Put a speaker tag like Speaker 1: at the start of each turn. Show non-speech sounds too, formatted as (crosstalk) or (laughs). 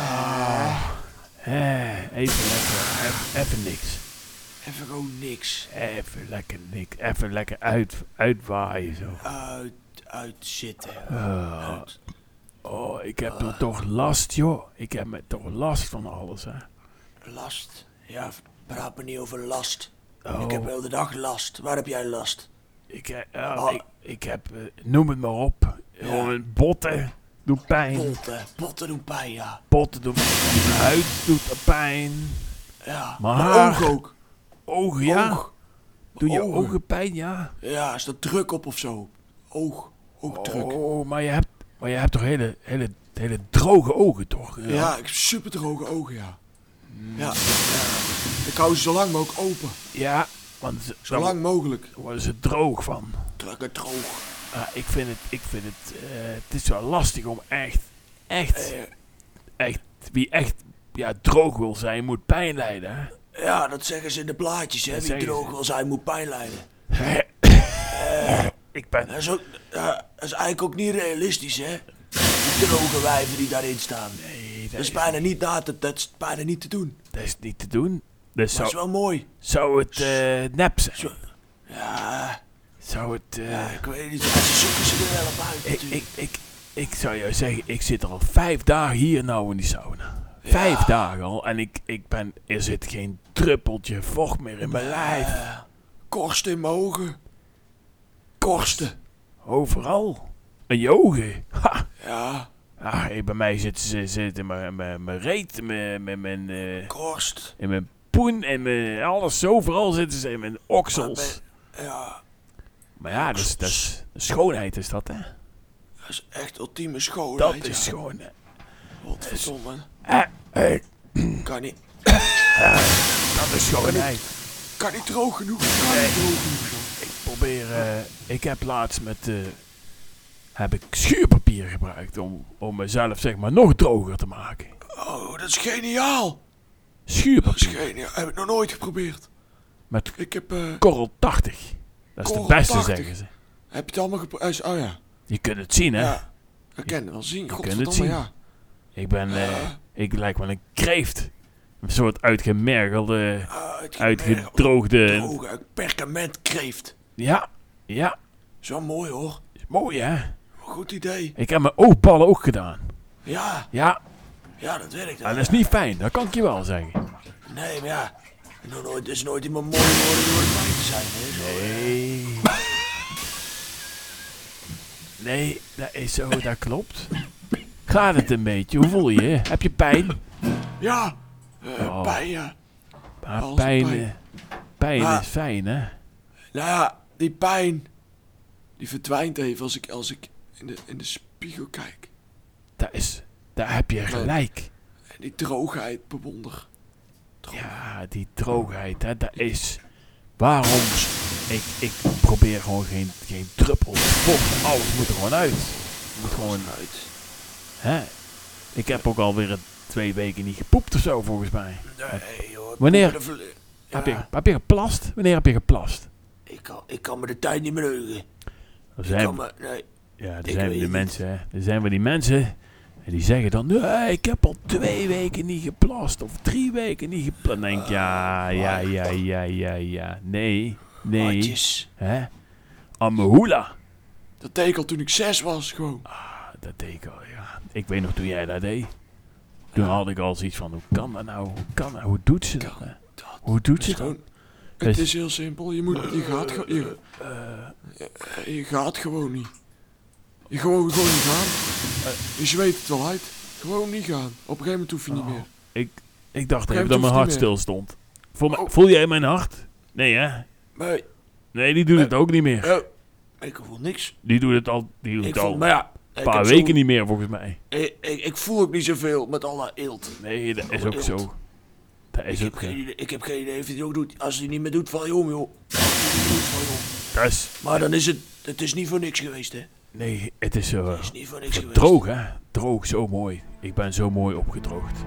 Speaker 1: Ah. Eh, e-, Even niks.
Speaker 2: Even gewoon niks.
Speaker 1: Even lekker niks. Even lekker uit, uitwaaien zo.
Speaker 2: Uit, uitzitten.
Speaker 1: Ah.
Speaker 2: Uit.
Speaker 1: oh, ik heb er toch last, joh. Ik heb me toch last van alles, hè.
Speaker 2: Last. Ja, praat me niet over last.
Speaker 1: Oh,
Speaker 2: Ik heb heel de dag last. Waar heb jij last?
Speaker 1: ik, he- ah,
Speaker 2: Ah.
Speaker 1: ik, ik heb... eh, noem het maar op. Gewoon botten doen pijn.
Speaker 2: Potten. Potten doen pijn, ja.
Speaker 1: Botten doen pijn. Mijn huid doet pijn.
Speaker 2: Ja.
Speaker 1: Maar
Speaker 2: oog ook.
Speaker 1: Ogen, ja.
Speaker 2: Oog.
Speaker 1: Doe je
Speaker 2: Ogen.
Speaker 1: ogen pijn, ja.
Speaker 2: Ja, is dat druk op of zo? Oog. Oogdruk.
Speaker 1: Oh, maar je hebt, maar je hebt toch hele, hele, hele droge ogen, toch?
Speaker 2: Ja. ik heb super droge ogen, ja. Ja, ja. Ik hou ze zo lang mogelijk open.
Speaker 1: Ja, want ze,
Speaker 2: Zo lang mogelijk.
Speaker 1: daar worden ze droog van.
Speaker 2: Druk het droog.
Speaker 1: Ah, ik vind het, ik vind het, eh, het is wel lastig om echt, echt,
Speaker 2: Eh,
Speaker 1: echt, wie echt ja, droog wil zijn, moet pijn lijden.
Speaker 2: (coughs)
Speaker 1: hè?
Speaker 2: ja, dat zeggen ze in de plaatjes, hè.
Speaker 1: Dat
Speaker 2: Wie
Speaker 1: zeggen
Speaker 2: droog
Speaker 1: ze.
Speaker 2: wil zijn, moet pijn lijden.
Speaker 1: ik ben,
Speaker 2: Dat is, ook, ja, dat is eigenlijk ook niet realistisch, hè. Die droge wijven die daarin staan.
Speaker 1: nee,
Speaker 2: Dat
Speaker 1: dat
Speaker 2: is
Speaker 1: is,
Speaker 2: bijna niet, na te, dat is bijna niet te doen. Maar
Speaker 1: dat is niet te doen. Dus
Speaker 2: dat is
Speaker 1: zou,
Speaker 2: wel mooi.
Speaker 1: zou het eh nep zijn?
Speaker 2: Ja,
Speaker 1: Zou het, eh,
Speaker 2: ja, ik weet niet. Ja, ze zoeken ze er wel op uit,
Speaker 1: ik,
Speaker 2: natuurlijk.
Speaker 1: ik, ik, ik zou jou zeggen, ik zit al vijf dagen hier nou in die sauna. Vijf
Speaker 2: Ja.
Speaker 1: dagen al en ik, ik ben, er zit geen druppeltje vocht meer in mijn lijf.
Speaker 2: Eh, korsten in mijn ogen. Korsten.
Speaker 1: Overal. Een yogi. (laughs) Ha.
Speaker 2: Ja,
Speaker 1: Ah, hey, bij mij zit, zit, zit in mijn, mijn, mijn reet, in mijn, mijn, mijn, eh,
Speaker 2: korst.
Speaker 1: in mijn poen en mijn, alles. Overal zitten ze in mijn oksels.
Speaker 2: Ja,
Speaker 1: Maar ja, dat is, dat is- schoonheid is dat, hè?
Speaker 2: dat is echt ultieme schoonheid.
Speaker 1: Dat is
Speaker 2: ja.
Speaker 1: schoon.
Speaker 2: Godverdomme.
Speaker 1: Eh, eh,
Speaker 2: Kan niet,
Speaker 1: dat is schoonheid.
Speaker 2: kan niet droog genoeg. Kan
Speaker 1: Nee.
Speaker 2: niet droog genoeg. joh.
Speaker 1: Ik probeer, eh, ik heb laatst met, eh, heb ik schuurpapier gebruikt om, om mezelf zeg maar nog droger te maken.
Speaker 2: Oh, dat is geniaal. Dat is
Speaker 1: Schuurpapier
Speaker 2: geniaal. Heb ik nog nooit geprobeerd.
Speaker 1: met
Speaker 2: Ik heb, eh,
Speaker 1: korrel 80. Dat is de
Speaker 2: Korrel
Speaker 1: beste,
Speaker 2: 80.
Speaker 1: zeggen ze.
Speaker 2: heb je het allemaal geprobeerd? Oh ja.
Speaker 1: Je kunt het zien, hè?
Speaker 2: Ja. Ik ken het wel zien.
Speaker 1: kunt het
Speaker 2: Godverdomme,
Speaker 1: zien.
Speaker 2: ja.
Speaker 1: Ik ben, eh,
Speaker 2: Ja.
Speaker 1: ik lijk wel een kreeft. Een soort uitgemergelde,
Speaker 2: Ah, het ging meer
Speaker 1: uitgedroogde.
Speaker 2: droog, uit perkament kreeft.
Speaker 1: Ja, ja.
Speaker 2: Is wel mooi hoor.
Speaker 1: Is mooi, hè?
Speaker 2: Goed idee.
Speaker 1: Ik heb mijn oogballen ook gedaan.
Speaker 2: Ja,
Speaker 1: Ja,
Speaker 2: ja, dat werkt.
Speaker 1: en dat is niet fijn, dat kan ik je wel zeggen.
Speaker 2: Nee, maar ja. Nog nooit, er is nooit iemand mooi geworden door het fijn te zijn. Hè? Zo, eh.
Speaker 1: Nee. Nee, dat is zo, dat klopt. Gaat het een beetje? Hoe voel je je? Heb je pijn?
Speaker 2: Ja. eh,
Speaker 1: Oh.
Speaker 2: Pijn, ja.
Speaker 1: Maar
Speaker 2: Als
Speaker 1: pijn,
Speaker 2: pijn. Ah.
Speaker 1: eh, pijn
Speaker 2: Maar-
Speaker 1: is fijn, hè?
Speaker 2: Nou ja, die pijn. Die verdwijnt even als ik, als ik in, de, in de spiegel kijk.
Speaker 1: Dat is, daar heb je gelijk.
Speaker 2: En die droogheid bewonder.
Speaker 1: Ja, die droogheid, hè, dat is. Waarom? Ik, ik probeer gewoon geen, geen druppel vocht. Alles moet er gewoon uit. Het Moet gewoon,
Speaker 2: Uit.
Speaker 1: hè? Ik heb ook alweer een- twee weken niet gepoept of zo, volgens mij.
Speaker 2: Nee, hoor.
Speaker 1: Wanneer-
Speaker 2: Ja,
Speaker 1: Heb, je, heb je geplast? Wanneer heb je geplast?
Speaker 2: ik, kan, ik kan me de tijd niet meer heugen.
Speaker 1: Er
Speaker 2: Ik
Speaker 1: zijn,
Speaker 2: kan me, nee,
Speaker 1: ja, er
Speaker 2: ik
Speaker 1: zijn
Speaker 2: weet
Speaker 1: we die
Speaker 2: het
Speaker 1: mensen, hè. Er zijn we die mensen. En die zeggen dan, nee, ik heb al twee weken niet geplast. Of drie weken niet geplast. Dan denk ik, ja,
Speaker 2: Oh,
Speaker 1: ja, ja, ja, ja, ja. Nee, nee.
Speaker 2: handjes.
Speaker 1: Hè? Amahula.
Speaker 2: Dat deed ik al toen ik zes was, gewoon.
Speaker 1: Dat deed ik al, ja. Ik weet nog toen jij dat deed. Toen had ik al zoiets van, hoe kan dat nou? Hoe kan dat? Hoe doet ze dat?
Speaker 2: Kan
Speaker 1: hè?
Speaker 2: dat?
Speaker 1: Hoe doet
Speaker 2: Het
Speaker 1: ze
Speaker 2: is
Speaker 1: dat?
Speaker 2: gewoon...
Speaker 1: Dus-
Speaker 2: Het is heel simpel. Je, moet, je, gaat, ge- je, je, je gaat gewoon niet. Je gewoon, gewoon niet gaan. Eh, Je zweet het wel uit. Gewoon niet gaan. Op een gegeven moment hoef je niet meer.
Speaker 1: Ik, ik dacht
Speaker 2: Jij
Speaker 1: even dat mijn
Speaker 2: hoeft
Speaker 1: hart
Speaker 2: niet
Speaker 1: stil stond. Voel, me-
Speaker 2: Oh.
Speaker 1: voel jij mijn hart? Nee, hè?
Speaker 2: Maar
Speaker 1: Nee, die doet het ook niet meer.
Speaker 2: Oh, ik voel niks.
Speaker 1: Die doet het al, die doet
Speaker 2: Ik
Speaker 1: het
Speaker 2: voel,
Speaker 1: al
Speaker 2: maar ja,
Speaker 1: een paar weken niet meer, volgens mij.
Speaker 2: Ik, ik, ik voel ook niet zoveel met alle eelt.
Speaker 1: Nee, dat is
Speaker 2: Oh,
Speaker 1: ook
Speaker 2: eelt.
Speaker 1: zo. Dat
Speaker 2: Ik
Speaker 1: is
Speaker 2: heb,
Speaker 1: ook zo.
Speaker 2: geen idee, ik heb geen idee of hij het ook doet. Als hij het niet meer doet, val je om, joh. Als hij het niet doet, val je om.
Speaker 1: eh, Dat is...
Speaker 2: Maar dan is het... Het is niet voor niks geweest, hè. Het
Speaker 1: Nee, het is zo... eh,
Speaker 2: is niet voor niks geweest.
Speaker 1: droog, hè? Droog, zo mooi. Ik ben zo mooi opgedroogd.